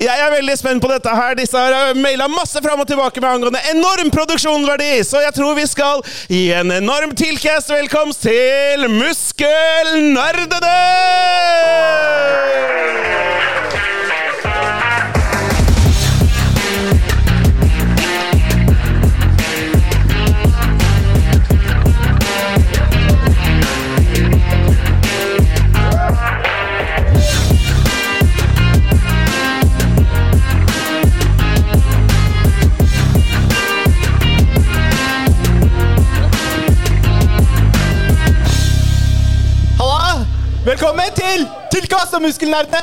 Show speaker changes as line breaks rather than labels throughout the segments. Jeg er veldig spent på dette her. Disse har maila masse fram og tilbake med angående enorm produksjonsverdi, så jeg tror vi skal gi en enorm tilcast velkomst til Muskelnerdene!
Halla! Velkommen til Tilkast og muskelnerdene!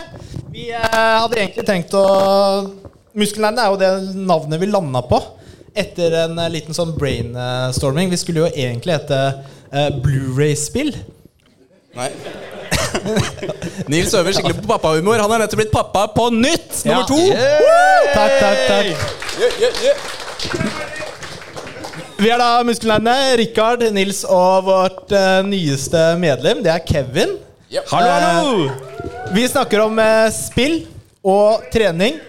Vi eh, hadde egentlig tenkt å Muskelnerdene er jo det navnet vi landa på etter en eh, liten sånn brainstorming. Vi skulle jo egentlig hete eh, Blu-ray-spill.
Nei. Nils øver skikkelig på pappahumor. Han er nettopp blitt pappa på nytt!
Ja.
Nummer to!
Woo! Takk, takk, takk. Vi er da Muskelnerdene. Rikard, Nils og vårt eh, nyeste medlem, det er Kevin.
Hallo, hallo!
Eh,
Vi snakker om eh, spill og trening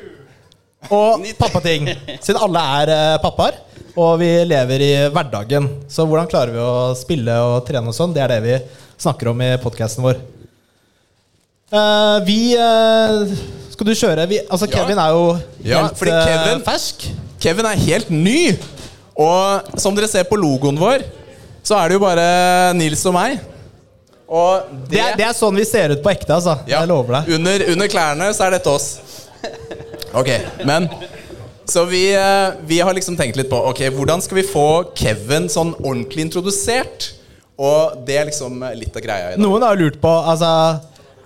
og pappating. Siden alle er eh, pappaer, og vi lever i hverdagen. Så hvordan klarer vi å spille og trene og sånn? Det er det vi snakker om i podkasten vår. Eh, vi eh, Skal du kjøre? Vi, altså,
Ja.
Kevin er jo
Ja, fordi
eh,
Kevin-
fersk.
Kevin er helt ny. Og som dere ser på logoen vår, så er det jo bare Nils og meg. Og det,
Det er, det er sånn vi ser ut på ekte, altså.
Ja,
Jeg lover deg.
Under, under klærne så er dette oss. Ok, men Så vi, eh, vi har liksom tenkt litt på Ok, hvordan skal vi få Kevin sånn ordentlig introdusert. Og det er liksom eh, litt av greia i dag.
Noen har jo lurt på altså,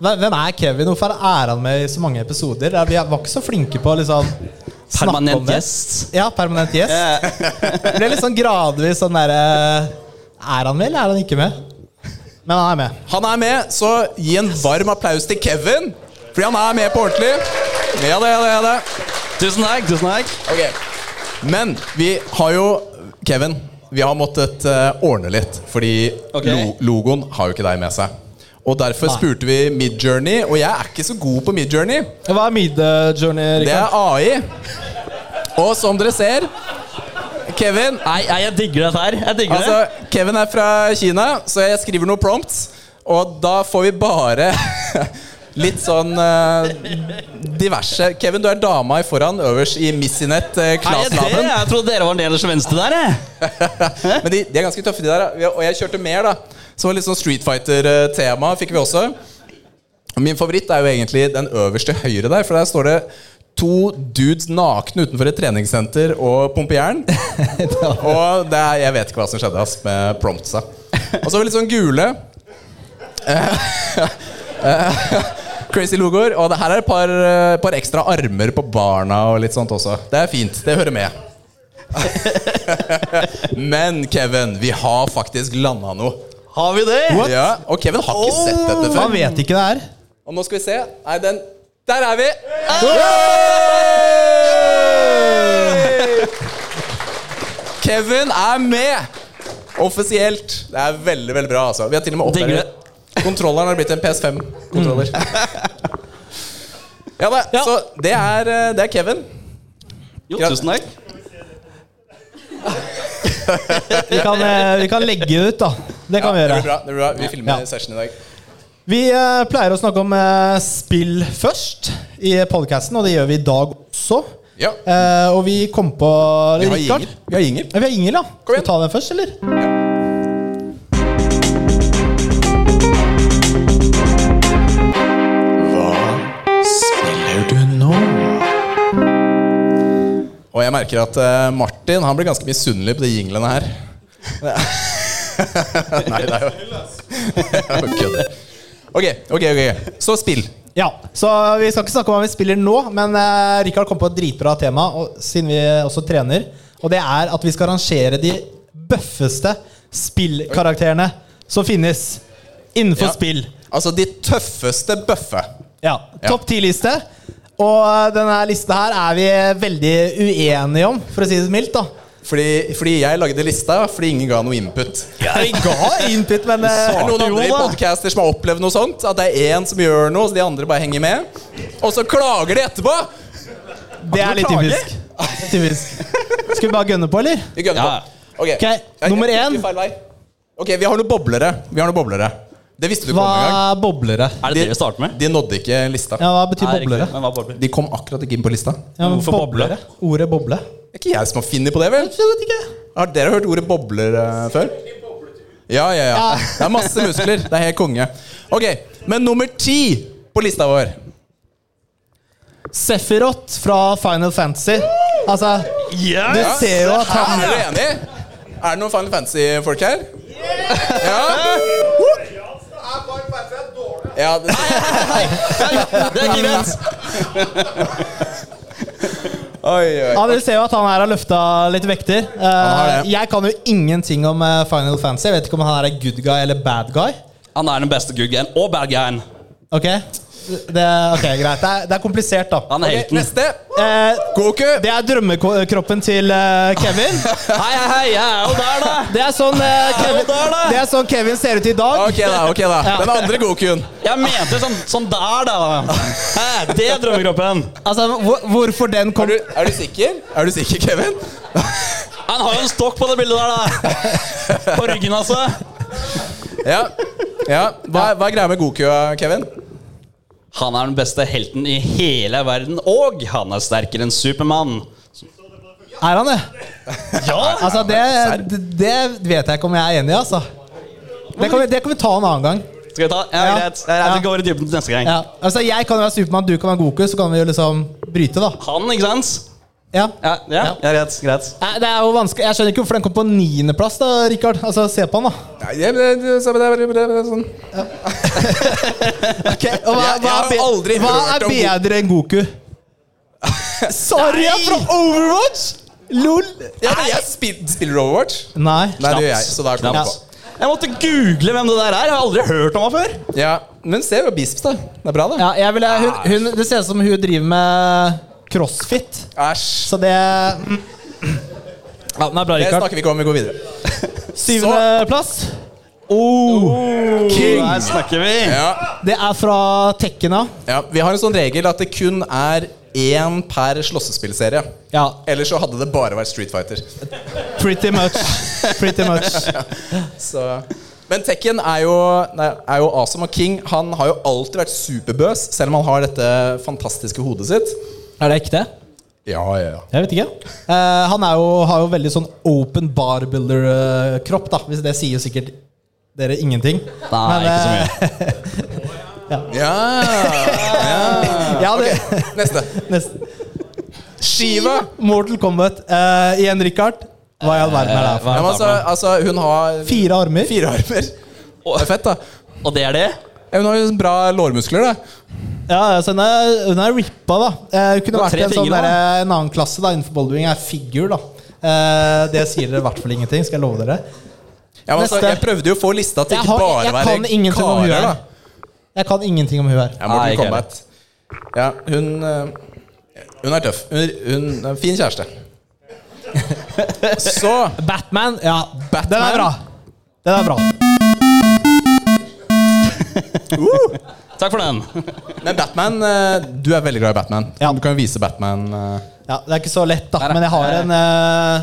hve- Hvem er Kevin? Hvorfor er han med i så mange episoder? Ja, Vi var ikke så flinke på å liksom, snakke om
Permanent
det.
gjest.
Ja, permanent gjest. Det ble litt sånn gradvis sånn derre Er han med, eller er han ikke med? Men han er med.
Han er med, så gi en varm applaus til Kevin. Fordi han er med på ordentlig. Ja, det, ja, det, ja, det.
Tusen takk. tusen takk
Ok. Men vi har jo Kevin, vi har måttet eh, ordne litt. Fordi
Ok.
lo logoen har jo ikke deg med seg. Og derfor
Nei.
spurte vi Midjourney, og jeg er ikke så god på Midjourney.
Hva er mid-journey?
Det er AI. Og som dere ser Kevin
Nei, nei, jeg digger dette her. Jeg digger
Altså, Kevin er fra Kina, så jeg skriver noen prompts. Og da får vi bare litt sånn eh, diverse Kevin, du er dama i foran øverst i Missinett uh,
det. Nei, jeg, det.
Klaslaben.
jeg trodde dere var nederst til venstre der. jeg
Men de, de er ganske tøffe, de der. da. Og jeg kjørte mer, da. Så litt sånn Street Fighter-tema fikk vi også. Min favoritt er jo egentlig den øverste høyre der, for der står det to dudes nakne utenfor et treningssenter og pumper jern. og det er, jeg vet ikke hva som skjedde ass, med promptsa. Og så har vi litt sånn gule. Eh, eh, Crazy logoer. Og det her er et par, eh, par ekstra armer på barna og litt sånt også. Det er fint. Det hører med. Men Kevin, vi har faktisk landa noe.
Har vi det?
Ja, og Kevin har ikke sett dette før.
Han vet ikke det her.
Og nå skal vi se. Nei, den Der er vi! Kevin er med! Offisielt. Det er veldig veldig bra. altså Vi har til og med
Digger det.
oppdatert Kontrolleren har blitt en PS5-kontroller.
Mm.
Ja da,
Ja.
Så det er, eh, det er Kevin.
Jo,
Ja.
tusen takk.
Vi kan, eh, vi kan legge det ut, da. Det kan vi
Ja, det
gjøre.
blir bra. det blir bra Vi filmer
Ja.
session i dag.
Vi eh, pleier å snakke om eh, spill først i podkasten, og det gjør vi i dag også.
Ja.
Eh, og vi kom på
Vi har
Rikard?
jingle. Vi har jingle.
Ja, vi har Ingel, ja. Skal vi
igjen.
ta den først, eller?
Spiller du nå? Og jeg merker at eh, Martin han blir ganske misunnelig på de jinglene her. Nei, det er jo Jeg bare kødder. Ok, ok, ok. Så spill.
Ja, så eh, Vi skal ikke snakke om hva vi spiller nå, men eh, Rikard kom på et dritbra tema og, siden vi også trener. Og det er at vi skal rangere de bøffeste spillkarakterene som finnes innenfor
Ja.
spill.
Altså de tøffeste bøffe.
Ja,
Ja.
Topp ti-liste. Og eh, denne lista her er vi veldig uenige om, for å si det mildt. da
Fordi, fordi jeg lagde lista fordi ingen ga noe input.
Vi ga input, men eh,
Er det noen andre i
jo da.
podcaster som har opplevd noe sånt? At det er én som gjør noe, så de andre bare henger med? Og så klager de etterpå!
Det er litt
noe å
typisk. typisk. Skal vi bare gønne på, eller?
Vi gønner
Ja.
på. Ok,
Ok, nummer
jeg- jeg-
én.
feil vei. Ok, vi har noen boblere. Vi har noen boblere. Det visste du ikke om engang.
Hva er boblere?
Er det det vi starter med?
De nådde ikke lista.
Ja, hva betyr
Nei, riktig.
boblere?
Men hva bobler?
De kom akkurat ikke inn på lista.
Ja, men
Hvorfor boblere?
Ordet boble?
Det er ikke jeg som har funnet på det, vel?
Jeg vet ikke.
Har dere hørt ordet bobler eh, før? Ja, ja, ja. Det er masse muskler. Det er helt konge. Ok, Men nummer ti på lista vår
Sefirot fra Final Fantasy. Altså,
Ja!
du
Ja,
ser jo at han
Er dere enig? Er det noen Final Fantasy-folk her? Ja? ja det,
Det er greit.
oi,
ja,
oi.
Dere ser jo at han her har løfta litt vekter. Eh,
har det.
jeg kan jo ingenting om eh, Final Fantasy. Jeg vet ikke om han her er good guy eller bad guy.
Han er den beste good guyen og bad guyen.
Ok, det, ok, greit. Det er, det er komplisert, da.
Han er
Ok,
helten.
neste.
Eh,
Goku.
det er drømmekroppen til eh, Kevin.
Hei, hei, hei, jeg er jo der, da!
Det er, sånn, eh, Kevin,
Ja, der, da.
det er sånn Kevin ser ut i dag.
Ok, da. ok da Den andre Gokuen.
Jeg mente sånn, sånn der, da. Hæ, det er drømmekroppen.
Altså, hvor, Hvorfor den
Er
kom
du, er du sikker? Er du sikker, Kevin?
Han har jo en stokk på det bildet der, da. På ryggen, altså.
Ja. ja. Hva, hva er greia med Goku, Kevin?
Han er den beste helten i hele verden, og han er sterkere enn Supermann.
Er han det? Ja Altså, det, det- det vet jeg ikke om jeg er enig i, altså. Det kan, vi, det kan vi ta en annen gang.
Skal vi ta? Ja,
Ja.
greit. Det er greit. Vi går i dybden til neste gang.
Ja. Altså, Jeg kan jo være Supermann, du kan være Goku, så kan vi jo liksom bryte, da.
Han, ikke sant?
Ja.
Ja, ja. ja greit. greit.
Nei, Det er jo vanskelig Jeg skjønner ikke hvorfor den kom på niendeplass, da, Richard. Altså, se på han, da.
Nei, det, det, det, det, det, det, det, sånn.
Og hva,
Jeg- jeg
hva,
har
er, be-
aldri
hva
hørt
er
om Goku.
bedre enn Goku? Sorry, jeg er fra Overwatch! Lol.
Ja, men jeg spil, spiller du Overwatch?
Nei.
Nei, det gjør jeg. Så da kom jeg
Knaps.
på.
Jeg måtte google hvem det der er. Jeg har aldri hørt om ham før.
Ja, Men se jo Bisps, da. Det er bra, det.
Ja, jeg vil, hun, hun, det ser ut som hun driver med crossfit.
Æsj.
Så det mm. Ja, den er bra,
Det
Richard.
snakker vi ikke om. Vi går videre.
Syvendeplass.
Oh,
Oh,
King.
Her snakker vi.
Ja,
Det er fra Tekkena.
ja. Vi har en sånn regel at det kun er én per slåssespillserie.
Ja,
Ellers så hadde det bare vært Street Fighter.
pretty much. Pretty much.
Så. Men Tekken er jo, nei, er jo awesome, og King han har jo alltid vært superbøs, selv om han har dette fantastiske hodet sitt.
Er det ekte?
Ja, ja, ja.
Jeg vet ikke. Eh, han er jo, har jo veldig sånn open barbuilder-kropp, da. Hvis det sier jo sikkert dere ingenting.
Nei, ikke så mye.
Ja, det,
Neste.
nesten.
Shiva.
Mortal Kombat. Eh, igjen, Richard. Hva i all verden er det her for?
Ja, men altså, altså, hun har
Fire armer.
fire armer. Det er fett, da.
Og det er det?
Ja, Hun har jo sånn bra lårmuskler, da.
Ja, altså, hun er, hun er rippa, da. Eh, Hun kunne
har
vært i
tre
en, sånn
fingre, da.
derre- en annen klasse da innenfor bouldering. er figur, da. Eh, det sier dere i hvert fall ingenting, skal jeg love dere.
Ja, men altså,
Neste.
jeg prøvde jo å få lista til
Jeg
ikke
har-
bare
jeg kan
være
ingenting om hun
karer,
her.
da.
Jeg kan ingenting om hun her.
Ja, Mortal
Nei, ikke
Kombat. Ja, hun eh, Hun er tøff. Hun, hun er en fin kjæreste. Så
Batman, ja.
Batman.
Den er bra. Den er bra.
Takk for den.
Men Batman, eh, du er veldig glad i Batman.
Ja.
Du kan jo vise Batman eh.
Ja, Det er ikke så lett, da,
er-
men jeg har
her er-
en eh,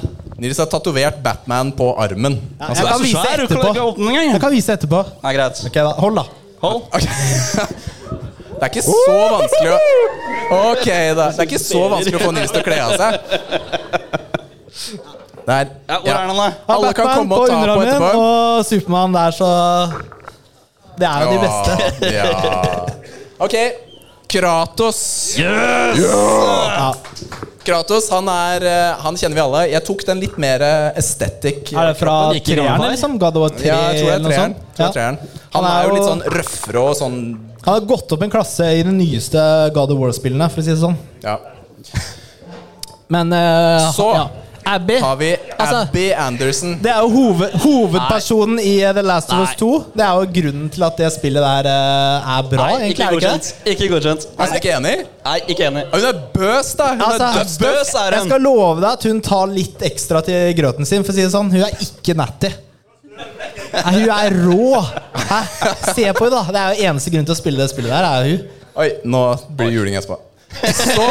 Nils har tatovert Batman på armen.
ja,
Altså,
Jeg
det
kan
er så
vise
svært.
svær, du kan
etterpå.
ikke åpne den engang.
Jeg kan vise etterpå.
Nei, greit.
Ok, da. Hold, da.
Hold.
Det er ikke så vanskelig å Ok, da. Det er ikke så vanskelig å få Nils til å kle av seg. Der.
Ja, hvor er den, da?
Ja,
Alle kan
Batman
komme og ta på
underarmen,
etterpå.
Og Supermann der, så Det er jo de beste.
Ja. Ok. Kratos.
Ja.
Kratos han er eh, Han kjenner vi alle. Jeg tok den litt mer estetikk.
Er det fra
Den gikk i gamle
treeren,
dager.
liksom? God of War 3
Ja, jeg tror det
eller
er
noe
treeren.
sånt? sånn?
Tror det er
Ja.
treeren. Han er jo litt sånn røffere og sånn
Han har gått opp en klasse i de nyeste God of War-spillene, for å si det sånn.
Ja.
Men eh,
Så
ja. Abby,
Har vi
Altså,
Abby Anderson.
Det er jo hoved, hovedpersonen i eh, The Last of Us
Nei.
2. Det er jo grunnen til at det spillet der eh, er bra,
Nei,
egentlig. er
ikke
det ikke
godkjent.
det?
Ikke godkjent.
Er du ikke enig?
Nei, ikke enig.
Ja, Hun er bøs, da! Hun
Altså,
er dødsbøs!
bøs er
jeg
hun.
skal love deg at hun tar litt ekstra til grøten sin, for å si det sånn. Hun er ikke natty. Nei, hun er rå! Hæ? Se på henne, da. Det er jo eneste grunn til å spille det spillet der, er jo hun.
Oi, nå blir det juling etterpå. Så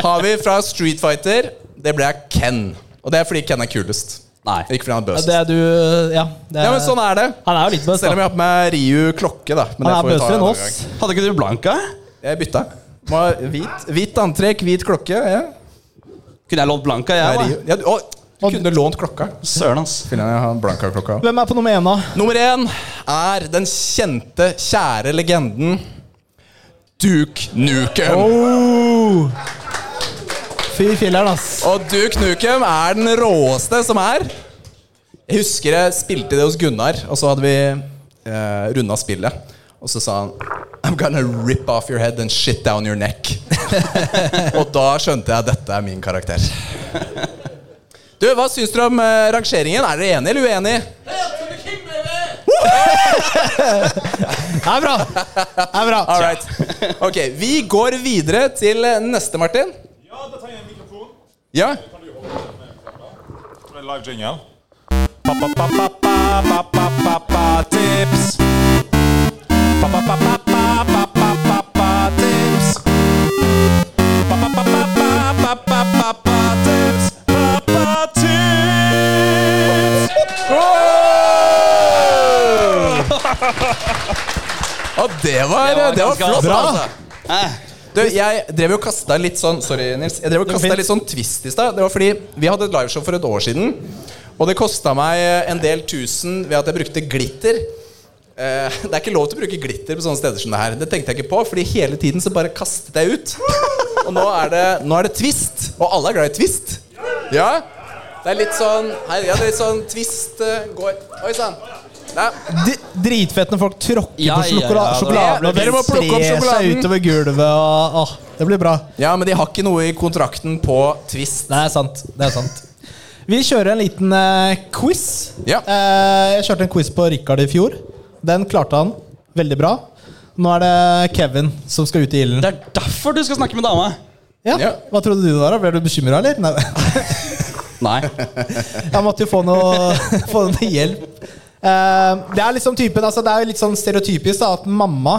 har vi fra Street Fighter. Det ble Ken. Og det er fordi Ken er kulest.
Nei.
Ikke fordi han er bøsest.
Det er du Ja. Det er,
Ja, men sånn er det.
Han er jo litt bøs,
Selv om
da.
jeg har på meg Riu klokke, da.
Han
Men det
er
får vi ta
bøsere enn
en annen
oss.
gang.
Hadde ikke du Blanca?
Jeg bytta. Må ha Hvit, hvit antrekk, hvit klokke. Ja.
Kunne jeg lånt Blanca,
Det
jeg
er
òg?
Rio. Ja, du, å, du kunne lånt klokka.
Søren, ass.
Finner jeg har Blanca-klokka.
Hvem er på nummer én, da?
Nummer én er den kjente, kjære legenden Duke Nukem.
Oh.
Oh!
Fy filleren, ass.
Og Duke Nukem er den råeste som er. Jeg husker jeg spilte det hos Gunnar, og så hadde vi eh, runda spillet. Og så sa han I'm gonna rip off your head and shit down your neck. og da skjønte jeg at dette er min karakter. Du, Hva syns dere om eh, rangeringen? Er dere enige eller uenige?
Det er bra! Det er bra.
All right. Ok, Vi går videre til eh, neste, Martin.
Ja, da trenger jeg en mikrofon.
Ja?
Med live jingle. Pappa-pappa-pappa-pappa-tips. Pappa-pappa-pappa-pappa-tips. Pappa-pappa-pappa-pappa-tips. Pappa-tips.
Oh! Og det var,
Det var
det var
ganske
flott,
bra.
altså. Du, jeg drev jo og kastet litt sånn Sorry, Nils. Jeg drev og kastet
fint.
litt sånn twist i stad. Det var fordi vi hadde et liveshow for et år siden. Og det kosta meg en del tusen ved at jeg brukte glitter. Eh, Det er ikke lov til å bruke glitter på sånne steder som det her. Det tenkte jeg ikke på, fordi hele tiden så bare kastet jeg ut. Og nå er det, nå er det twist. Og alle er glad i twist. Ja? Det er litt sånn Hei, ja, det er litt sånn twist eh, går Oi sann. Nei.
D- Dritfett når folk tråkker
Ja,
på
ja, ja,
sjokola
det-
sjokoladen, og
Dere må plukke opp
sprer
sjokoladen.
seg utover gulvet. Og, åh, det blir bra.
Ja, men de har ikke noe i kontrakten på twist.
Nei, det er sant. Det er sant. Vi kjører en liten eh, quiz.
Ja.
Eh, jeg kjørte en quiz på Rikard i fjor. Den klarte han veldig bra. Nå er det Kevin som skal ut i ilden.
Det er derfor du skal snakke med dama.
Ja.
Ja.
Hva trodde du det var? da? Ble du bekymra, eller? Nei.
Nei.
Jeg måtte jo få noe, få noe hjelp. Eh, det er liksom typen altså Det er jo litt sånn stereotypisk da, at mamma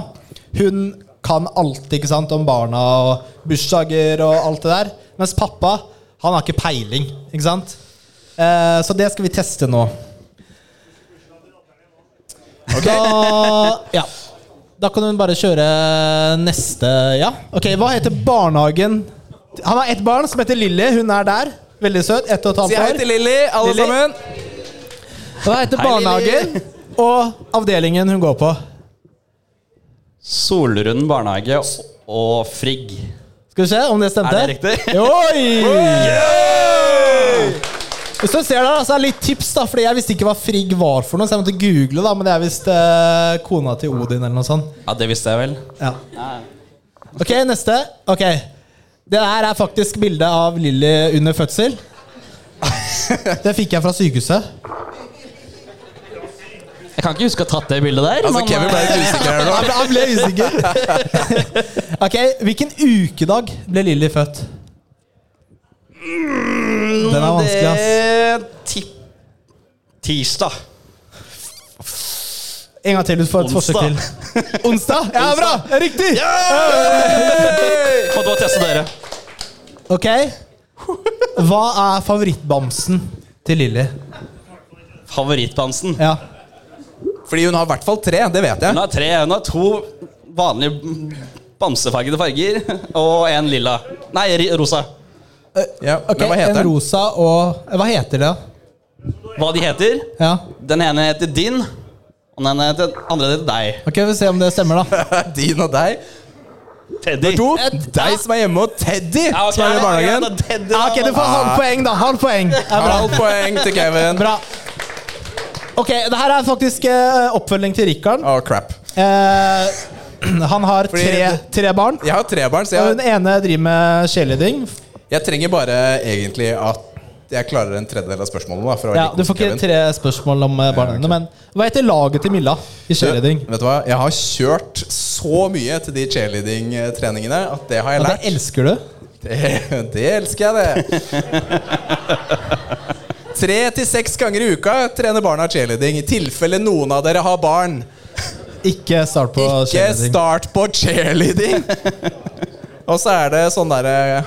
Hun kan alt ikke sant, om barna og bursdager og alt det der. Mens pappa han har ikke peiling. Ikke sant? Eh, så det skal vi teste nå. Da, ja. da kan hun bare kjøre neste Ja. Ok, Hva heter barnehagen Han har ett barn som heter Lilly. Hun er der. Veldig søt. Ett og et
Si
halvt
hei
år.
til Lilly, alle
Lilly.
sammen.
Hva heter
Hei,
barnehagen og avdelingen hun går på?
Solrund barnehage og Frigg.
Skal vi se om det stemte?
Er det riktig?
Oi! Hvis du ser der, da, så er det litt tips, da, Fordi jeg visste ikke hva Frigg var for noe. Så jeg måtte google, da, men det er visst eh, kona til Odin eller noe sånt.
Ja, det visste jeg vel.
Ja. Ok, neste. Ok. Det her er faktisk bilde av Lilly under fødsel. Det fikk jeg fra sykehuset.
Jeg kan ikke huske å ha tatt det bildet der.
Altså,
men- eh,
Kevin ble litt usikker her nå.
Jeg ble, jeg ble usikker. Ok, Hvilken ukedag ble Lilly født? Den er vanskelig, ass.
Det ti- Tirsdag.
En gang til. Du får et
Onsdag.
forsøk til. Onsdag? Ja, bra! Riktig!
Måtte bare teste dere.
Ok. Hva er favorittbamsen til Lilly?
Favorittbamsen.
Ja.
Fordi hun har i hvert fall tre, det vet
Hun
jeg.
har tre. Hun har to vanlige bamsefargede farger og en lilla. Nei, ri- rosa.
Ja,
Ok,
men hva heter
En
den?
rosa og Hva heter det?
Hva de heter?
Ja.
Den ene heter din, og den ene heter, andre heter deg.
Ok, Vi får se om det stemmer, da.
Din og deg.
Teddy.
To,
Et-
deg som er hjemme, og Teddy
Ja, ok,
som er i
ja,
barnehagen.
da Teddy,
Ja,
da.
Ah, ok, Du får halvt poeng, da. Halvt poeng. Det er bra.
Halvt poeng til Kevin.
bra. Ok, det her er faktisk eh, oppfølging til Rikard.
Å, crap.
Eh, han har
Fordi-
tre, tre barn.
Jeg har tre barn, så
Og hun
jeg,
ene driver med cheerleading.
jeg trenger bare egentlig at jeg klarer en tredjedel av spørsmålene. Da, for å være
Ja,
like
du
god som
får ikke
Kevin.
tre spørsmål om eh, barna dine, men hva heter laget til Milla i cheerleading?
Du, Vet du hva? Jeg har kjørt så mye til de cheerleading-treningene at det har jeg
Ja,
lært.
det elsker du.
Det, det elsker jeg, det. Tre til seks ganger i uka trener barna cheerleading. I tilfelle noen av dere har barn,
Ikke start på
ikke
cheerleading.
start på cheerleading! Og så er det sånn derre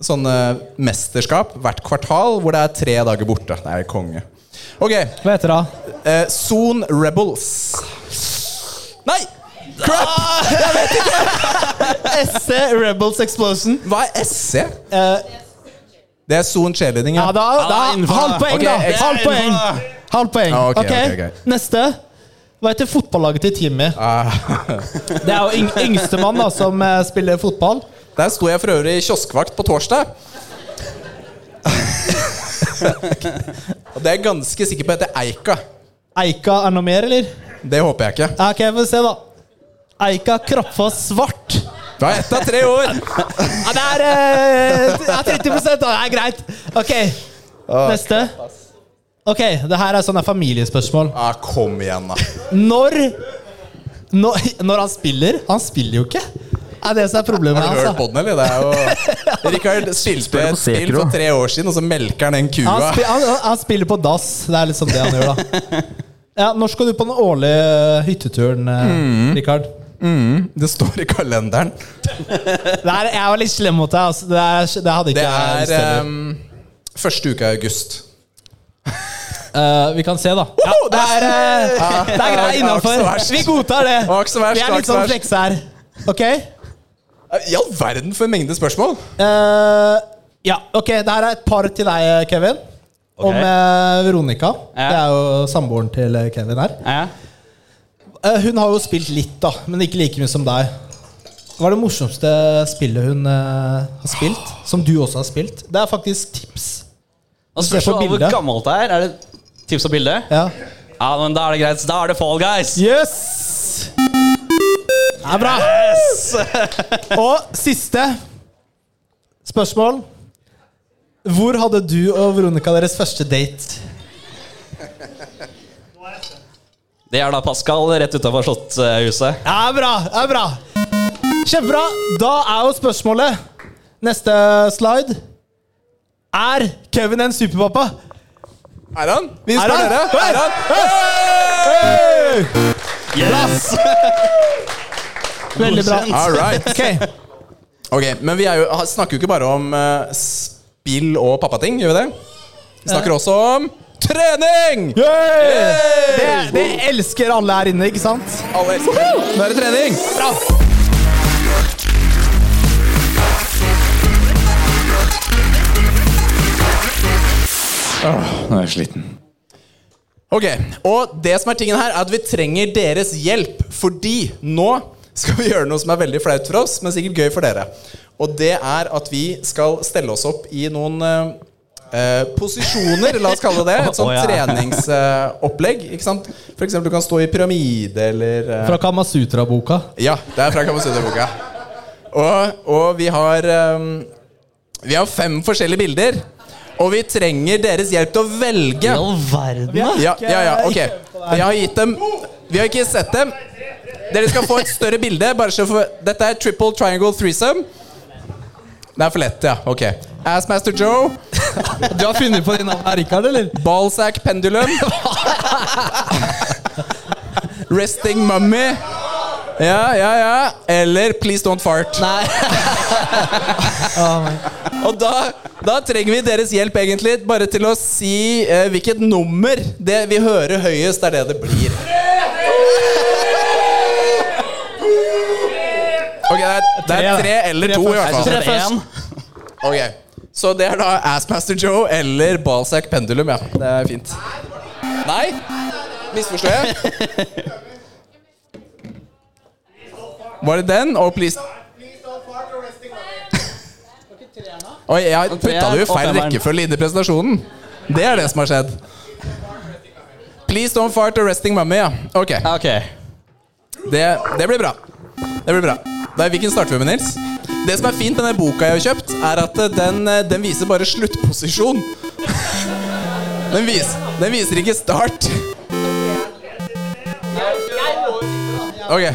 Sånne mesterskap hvert kvartal hvor det er tre dager borte. Det er konge. Ok.
Hva heter det?
Eh, Soon Rebels. Nei!
SC Rebels Explosion.
Hva er SC?
Eh,
Det er Soon Cheerleading.
ja, da, da
det er innenfor, da.
Halvt poeng,
Ah, Ok,
da!
jeg-
Halvt
Det er
poeng!
innenfor,
Halvt poeng.
Ah, ok,
Ok,
ok, ok. Ah.
Neste. Hva heter fotballaget til Timmy? Det er jo yng yngstemann da, som eh, spiller fotball.
Der sto jeg for øvrig kioskvakt på torsdag. Og det er jeg ganske sikker på heter Eika.
Eika er noe mer, eller?
Det håper jeg ikke.
Ja, Ok, vi får se, da. Eika Kroppfoss Svart.
Du har ett av tre år!
Ja, det er eh, ja, 30 da. Det er greit. Ok,
Ah.
neste. Ok, det her er sånne familiespørsmål.
Ah, kom igjen, da.
Når Når, når han spiller Han spiller jo ikke. Det er det som er problemet
Har du hørt
hans. da.
på den, eller? Det er jo Rikard spilte et spill for tre år siden, og så melker han den
Han,
kua.
spi han, han spiller på dass. Det er liksom det han gjør, da. Ja, Når skal du på den årlige eh, hytteturen,
Mm.
eh, Rikard?
Det står i kalenderen.
Det er, jeg var litt slem mot deg. Altså. Det, er, det hadde ikke
Det
jeg lyst til.
er um, første uke i august.
Eh, vi kan se, da. Ja, det er, eh, det er greit
det var ikke så
innafor.
verst.
Vi godtar det.
var ikke så verst,
Vi
det
er litt
var ikke så
sånn
verst.
flekse her. Ok?
I all verden for en mengde spørsmål!
Eh, ja, ok. Det her er et par til deg, eh, Kevin. Om eh, Veronica.
Ja.
Det er jo samboeren til eh, Kevin her.
Ja.
Eh, hun har jo spilt litt, da, men ikke like mye som deg. Hva er det morsomste spillet hun eh, har spilt? Som du også har spilt? Det er faktisk tips.
Og
Se på
spørs det hvor
bildet.
gammelt det er. Er det tips og bilde?
Ja.
Ja, men da er det greit. Da er det Fall Guys.
Yes! Det er bra. Og siste spørsmål. Hvor hadde du og Veronica deres første date?
Det er da Pascal rett utafor Slottshuset.
Det er bra! det er bra Kjempebra. Da er jo spørsmålet Neste slide. Er Kevin en superpappa?
Er han? Vi
Er
spør
han?
dere. Er han?
Yes!
Veldig bra.
All right.
Ok,
Ok, Men vi er jo, ha- snakker jo ikke bare om eh, spill og pappating, gjør vi det? Vi snakker også om trening!
Det, det elsker alle her inne, ikke sant?
Alle elsker det. Nå er det trening! Ah, Nå er jeg sliten. Ok, og det som er tingen her, er at vi trenger deres hjelp, fordi nå skal vi gjøre noe som er veldig flaut for oss, men sikkert gøy for dere. Og det er at vi skal stelle oss opp i noen eh, eh, posisjoner, la oss kalle det. Et sånt
Å, ja.
treningsopplegg. ikke sant? For eksempel du kan stå i pyramide eller eh,
Fra Kamasutra-boka.
ja, det er fra Kamasutra-boka. Og, og vi har ehm, Vi har fem forskjellige bilder. Og vi trenger deres hjelp til å velge. Ja, ja, ja, ok Jeg har gitt dem Vi har ikke sett dem. Dere skal få et større bilde. Bare så for, dette er triple triangle threesome. Det er for lett, ja. Ok. Assmaster Joe.
Du har funnet på de navnene, Rikard, eller?
Ballsack Pendulum. Resting Mummy. Ja, ja, ja. Eller Please Don't Fart. Nei. Og da, da trenger vi deres hjelp, egentlig, bare til å si eh, hvilket nummer det vi hører høyest, er det det blir. Ok, det er, det
Tre, da.
er tre eller
Tre
to, i
først.
hvert fall.
Tre først.
Ok, Så det er da Assmaster Joe eller Balzac Pendulum, ja. Det er fint. Nei? Misforstår jeg? Var det den? Og please Oi, jeg putta det jo i feil rekkefølge inn i presentasjonen. Det er det som har skjedd. Please don't fart arresting mummy, ja. Ok,
Ja, Ok.
det, det blir bra. Det blir bra. Da, hvilken starter vi med, Nils? Det som er fint med den boka jeg har kjøpt, er at eh, den, eh, den viser bare sluttposisjon. Den, vis, den viser ikke start. Ok.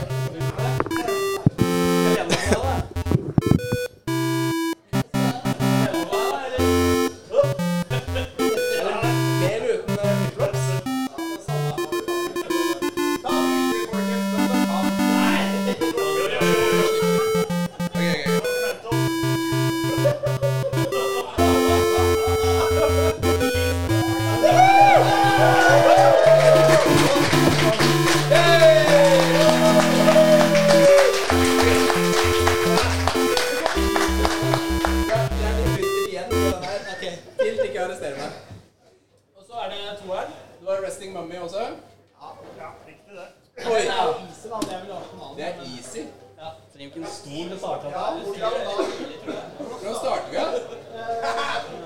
Kissing Mummy også? Det er easy.
Trenger jo ikke en stor til å starte opp her.
Hvordan starter vi, da?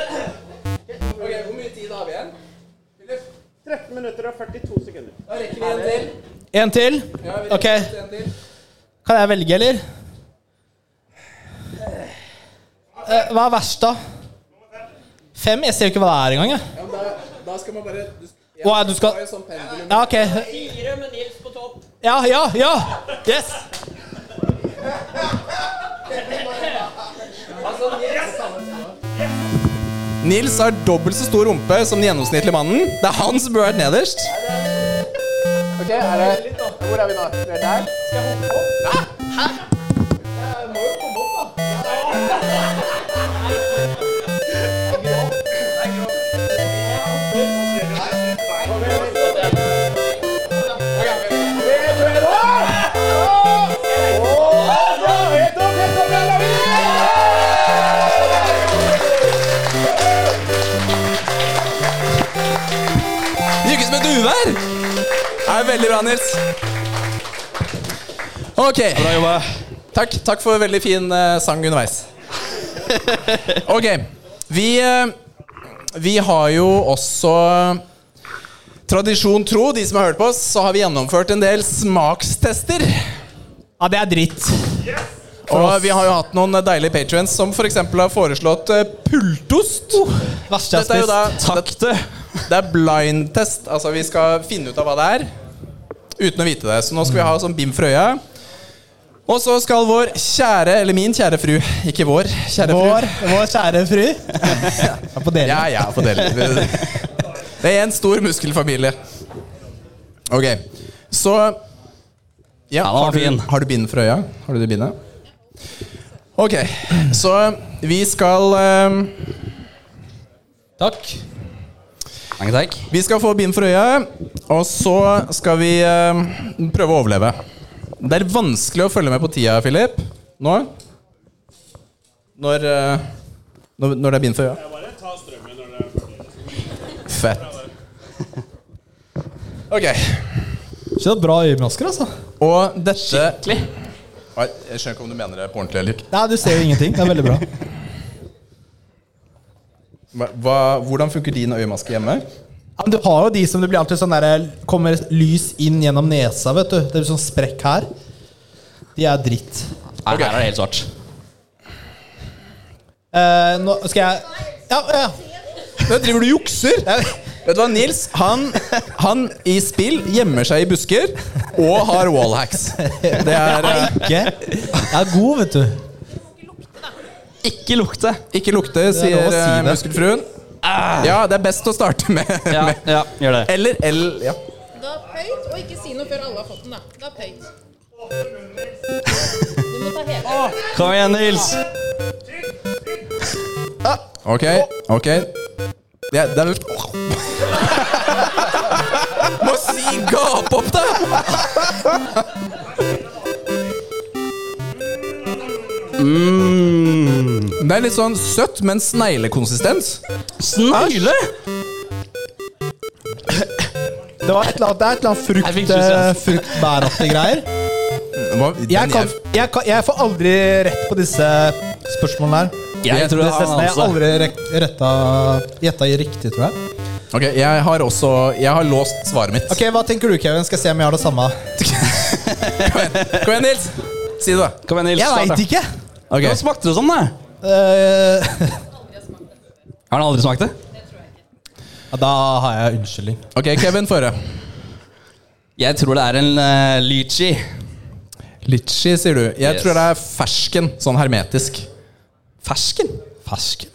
Ok, Hvor mye tid har vi igjen?
13 minutter og 42 sekunder.
Da rekker vi en til.
En til.
Ja, vi rekker
Ok,
en til.
kan jeg velge, eller? Eh, Hva er verst, da? Fem? Jeg ser jo ikke hva det er engang. jeg.
Ja, men da, da skal man bare du, ja,
Å, ja, du skal-
har jo sånn pendulum.
Ja, ok.
Fire med Nils på topp.
Ja, ja, ja! Yes!
Nils har dobbelt så stor rumpe som den gjennomsnittlige mannen. Det er han som burde vært nederst. Ok, er det Hvor er vi nå? Det er der? Det gikk ut som et uvær! Det er veldig bra, Nils. Ok.
Bra jobba.
Takk, takk for veldig fin eh, sang underveis. Ok, vi, eh, vi har jo også Tradisjon tro, de som har hørt på oss, så har vi gjennomført en del smakstester.
Ja, det er dritt.
Og vi har jo hatt noen deilige patrients som f.eks. har foreslått eh, pultost.
Verste jeg
Dette er jo da
har spist.
Takk det. Det er blind test. Altså, vi skal finne ut av hva det er uten å vite det. Så nå skal vi ha sånn bim for øya. Og så skal vår kjære, eller min kjære fru Ikke vår, kjære
Vår,
fru.
vår kjære fru. Ja, på dere.
Ja, ja, for det. Det er en stor muskelfamilie. Ok, så ja,
den var
har, du,
fin.
har du bind for øya? Har du det bindet? Ok, så vi skal eh,
Takk.
Mange takk.
Vi skal få bind for øya, og så skal vi eh, prøve å overleve. Det er vanskelig å følge med på tida, Philip. Nå. Når, eh, når, når det er bind for øya.
Bare ta strømmen når det er ferdig.
Fett. Ok.
Ikke noe bra øyemasker, altså.
Og dette Oi, Jeg skjønner ikke om du mener det på ordentlig eller
Nei, du ser jo ingenting. Det er veldig bra.
Hva- Hva, Hvordan funker din øyemaske hjemme?
Ja, men du har jo de som det blir alltid sånn der, kommer lys inn gjennom nesa, vet du. Det blir sånn sprekk her. De er dritt.
Nei, Her er det helt svart.
Eh, nå skal jeg Ja, ja.
Nå driver du og jukser! Vet du hva, Nils han, han i spill gjemmer seg i busker og har wallhacks. Det er eh,
Ikke. Jeg er god, vet du.
Ikke lukte.
Ikke lukte, sier
lov å si
eh,
det.
muskelfruen. Ja, det er best å starte med.
Ja,
med-
ja, gjør det.
Eller L. Ja.
Da pøyt, og ikke si noe før alle har fått den, da. Da pøyt. Du må ta hele.
Kom igjen, Nils.
Ok, ok. Ja, det er litt Må si gap opp, da! Det er litt sånn søtt, men sneglekonsistens.
Snegle!
Det var et eller annet, det er et eller annet
Jeg fikk
frukt,
lyst til å-
eh, fruktbæraktig greier.
Hva- den
Jeg, kan, jeg, kan, jeg får aldri rett på disse spørsmålene her.
Jeg
Disse
tror jeg har en
testene jeg har
anelse.
aldri rek- retta gjetta i riktig, tror jeg.
Ok, jeg har også Jeg har låst svaret mitt.
Ok, Hva tenker du, Kevin? Skal jeg se om jeg har det samme?
Kom igjen, Nils. Si det, da.
Kom igjen, Nils.
Jeg
start, da.
veit ikke.
Ok.
Hva smakte det som, da?
Eh,
Har den aldri smakt det?
ja, da har jeg unnskyldning.
Ok, Kevin, få høre.
Jeg tror det er en eh, lychee.
Litchi, sier du. Jeg
Yes.
tror det er fersken, sånn hermetisk.
Fersken?
Fersken.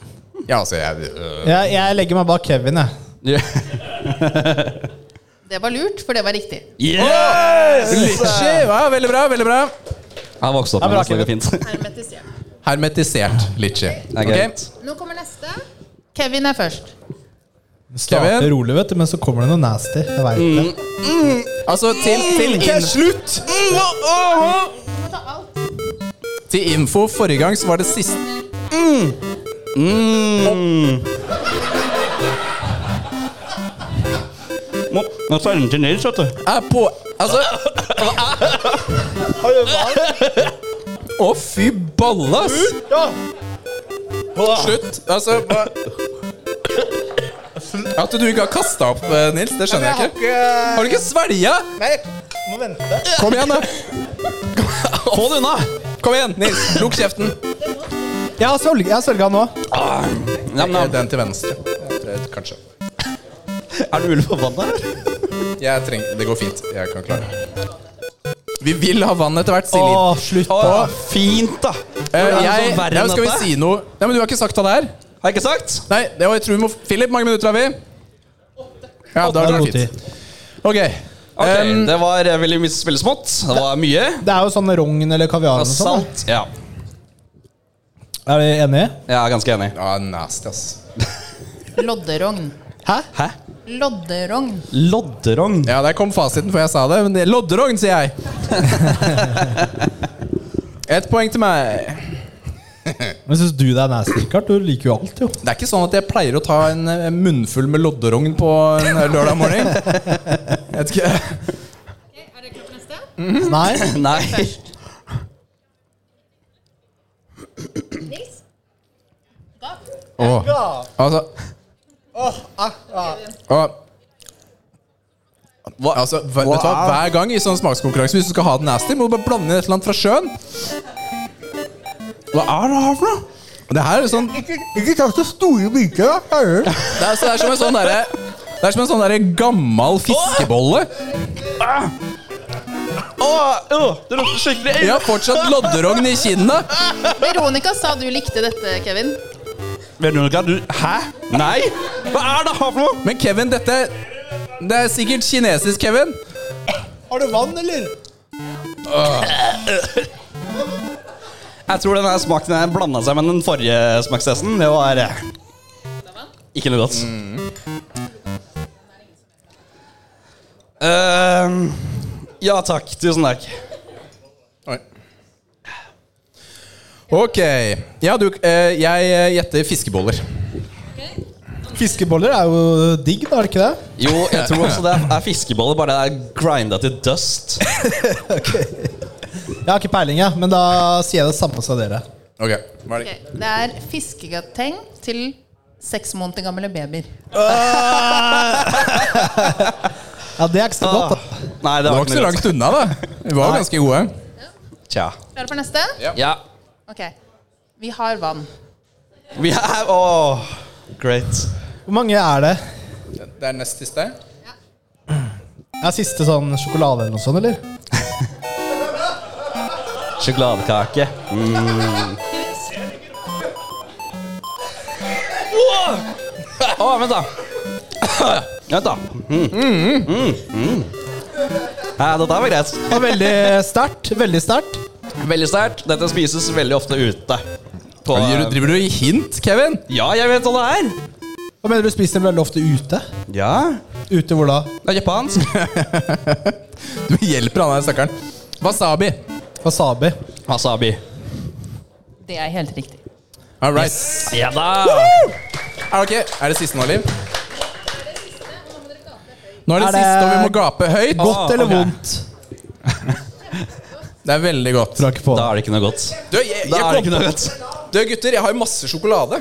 Ja, altså, jeg øh,
Jeg, jeg legger meg bak Kevin, jeg.
Det var lurt, for det var riktig.
Litchi! Ja, veldig bra. veldig bra
Jeg har vokst opp
Ja,
med
bra,
det, så det går fint.
Hermetisert.
Hermetisert litchi.
er
Ok,
greit.
Nå kommer neste. Kevin er først.
Starter rolig, vet du, men så kommer det noe nasty. Jeg vet det.
Altså, til, til, in,
Slutt!
Du må ta alt.
til info, forrige gang så var det siste
Mm. Må, må ta den til Nils, vet du.
er på Altså Å, fy balle, ass! Slutt. Altså hva? At du ikke har kasta opp, eh, Nils, det skjønner jeg ikke. Har du ikke svelga?
Nei, jeg må vente.
Kom igjen, da. Få det unna. Kom igjen, Nils. Lukk kjeften.
Jeg har svelg- jeg har svelga nå.
Ja, men,
Eh, Den til venstre. Eh, Kanskje.
er det mulig å få vann der?
Jeg trenger Det går fint. Jeg kan klare det. Vi vil ha vann etter hvert, Silje.
Å, slutt.
Å,
da.
fint, da!
Eh,
Er det
jeg,
noe verre
ja,
enn
skal vi
dette?
si noe Nei, men Du har ikke sagt hva det er?
Har jeg ikke sagt?
Nei, det, jeg tror vi må Philip, mange minutter har vi? Ja, da er det
Det er
fint. Ok.
Ok,
Em,
Det var eh, veldig mye- veldig smått. Det var mye.
Det er jo sånn rogn eller kaviar
Og
eller noe sånt.
salt. Ja,
da. Er dere enige?
jeg er ganske enig.
ja, nasty, ass.
Lodderogn.
Hæ?
Lodderogn.
Lodderogn.
Ja, der kom fasiten før jeg sa det. Men det er Lodderogn, sier jeg. Ett poeng til meg.
Men syns du det er nasty, Rikard? Du liker jo alt, jo.
Det er ikke sånn at jeg pleier å ta en eh, munnfull med lodderogn på en lørdag morgen. Jeg vet ikke.
Ok, er dere klare for neste?
Nei.
Nei.
Nils? Gav?
Åh. Altså ah, Åh. Hva, altså, hva, vet du hva, Hver gang i sånn smakskonkurranse hvis du skal ha den nasty, må du bare blande inn et eller annet fra sjøen. Hva er det her for noe? Det her er sånn Ikke, ta så store biter, da. Det er, så det er som en sånn derre Det er som en sånn derre gammal fiskebolle.
Å, det lukter skikkelig
Vi har fortsatt lodderogn i kinnet.
Veronica sa du likte dette, Kevin.
Veronica, du Hæ? Nei? Hva er det her for noe?
Men Kevin, dette Det er sikkert kinesisk, Kevin.
Har du vann, eller?
Jeg tror denne smaken her blanda seg med den forrige smakstesten. Det var eh, ikke noe godt. Ehm, ja takk. Tusen takk.
Oi. Ok. Ja, du, eh, jeg eh, gjetter fiskeboller.
Fiskeboller er jo øh, digg, da, er det ikke det?
Jo, jeg tror også det er fiskeboller, bare det er grinda til dust.
Jeg har ikke peiling, jeg, men da sier jeg det samme som dere.
Ok, hva er
Ok,
det?
Det er fiskegateng til seks måneder gamle babyer.
Ja, det er ikke så godt, da.
Nei, det
Det
var
var ikke så
ikke noe godt.
langt unna, da. Vi var jo ganske gode.
Tja.
Klare for neste?
Ja.
Ok. Vi har vann.
Vi er Åh, great.
Hvor mange er det?
Det er nest siste.
Er siste sånn sjokolade eller noe sånt, eller?
Sjokoladekake. Mm. Å, vent, da. Vent, da. Mm. Mm. Mm. Ja, dette var greit.
Det var veldig sterkt. Veldig sterkt.
Veldig sterkt. Dette spises veldig ofte ute. På, eh,
Driver du i hint, Kevin?
ja, jeg vet hva det er.
Hva mener du spiser dem veldig ofte ute?
Ja,
Ute hvor da?
det er japansk.
Du hjelper han der stakkaren. Wasabi.
Wasabi.
Wasabi.
Det er helt riktig.
All right.
Ja da.
Er, det ok? er det siste nå, Liv? Nå er det
Er det-
siste, og vi må gape høyt.
Godt eller
ok.
vondt?
Det er veldig godt.
Drar ikke på.
Da er det ikke noe godt.
Du, jeg, jeg
Da er det
kom
ikke
på
noe godt.
Du, gutter, jeg har jo masse sjokolade.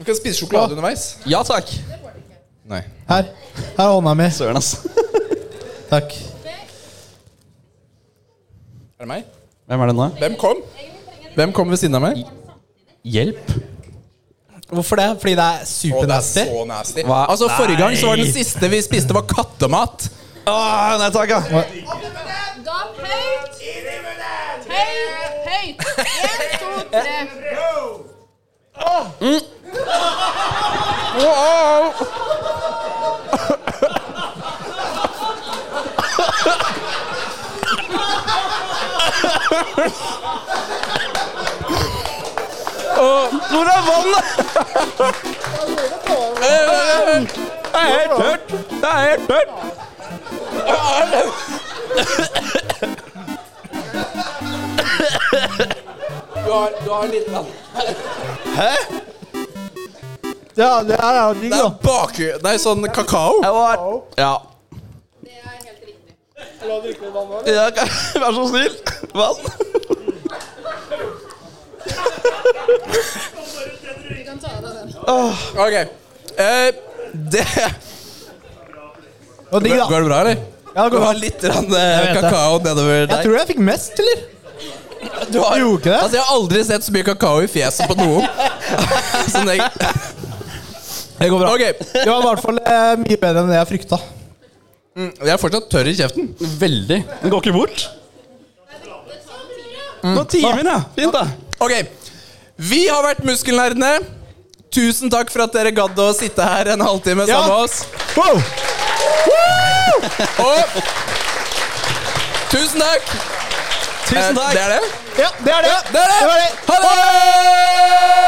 Du kan spise
Ah.
sjokolade underveis.
Ja takk.
Nei.
Her. Her er hånda mi.
Søren, ass.
Takk.
Er det meg?
Hvem er det nå?
Hvem kom? Hvem kom ved siden av meg?
Hjelp.
Hvorfor det? Fordi det er
Å, det er
supernasty?
så nasty.
Hva?
Altså, Forrige gang så var den
Nei.
siste vi spiste, var kattemat.
Åh, nei takk, ja.
Gav høyt! Høyt! Høyt! En, to, tre.
Wow!
Hvor er vannet?
Det er helt tørt! Det er helt tørt!
Du har, du har litt vann.
Ja, det er jo digg,
Det
da.
er bak... Det er sånn kakao.
Ja.
Det er helt riktig.
ja kan- vær så snill. Vann.
Du kan ta av deg den.
Ok. Eh, det
Det var digg, da.
Går det bra, eller?
Ja, det går
Du
bra.
har litt rann,
Jeg
eh,
vet det.
kakao nedover
Jeg
deg.
tror jeg fikk mest, eller?
Du har,
Jeg gjorde ikke det.
Altså, jeg har aldri sett så mye kakao i fjeset på noen. Som det, det går bra. Ok,
Det var i hvert fall eh, mye bedre enn det jeg frykta.
Mm, Jeg er fortsatt tørr i kjeften.
Veldig. Den går ikke bort. Mm. Nå timer den, ja. Fint, da.
Ok, vi har vært muskelnerdene. Tusen takk for at dere gadd å sitte her en halvtime
Ja.
sammen med oss.
Wow!
Og tusen takk. Eh,
Tusen takk.
Det er det.
Ja, det er det.
Det er det.
var det.
Ha det!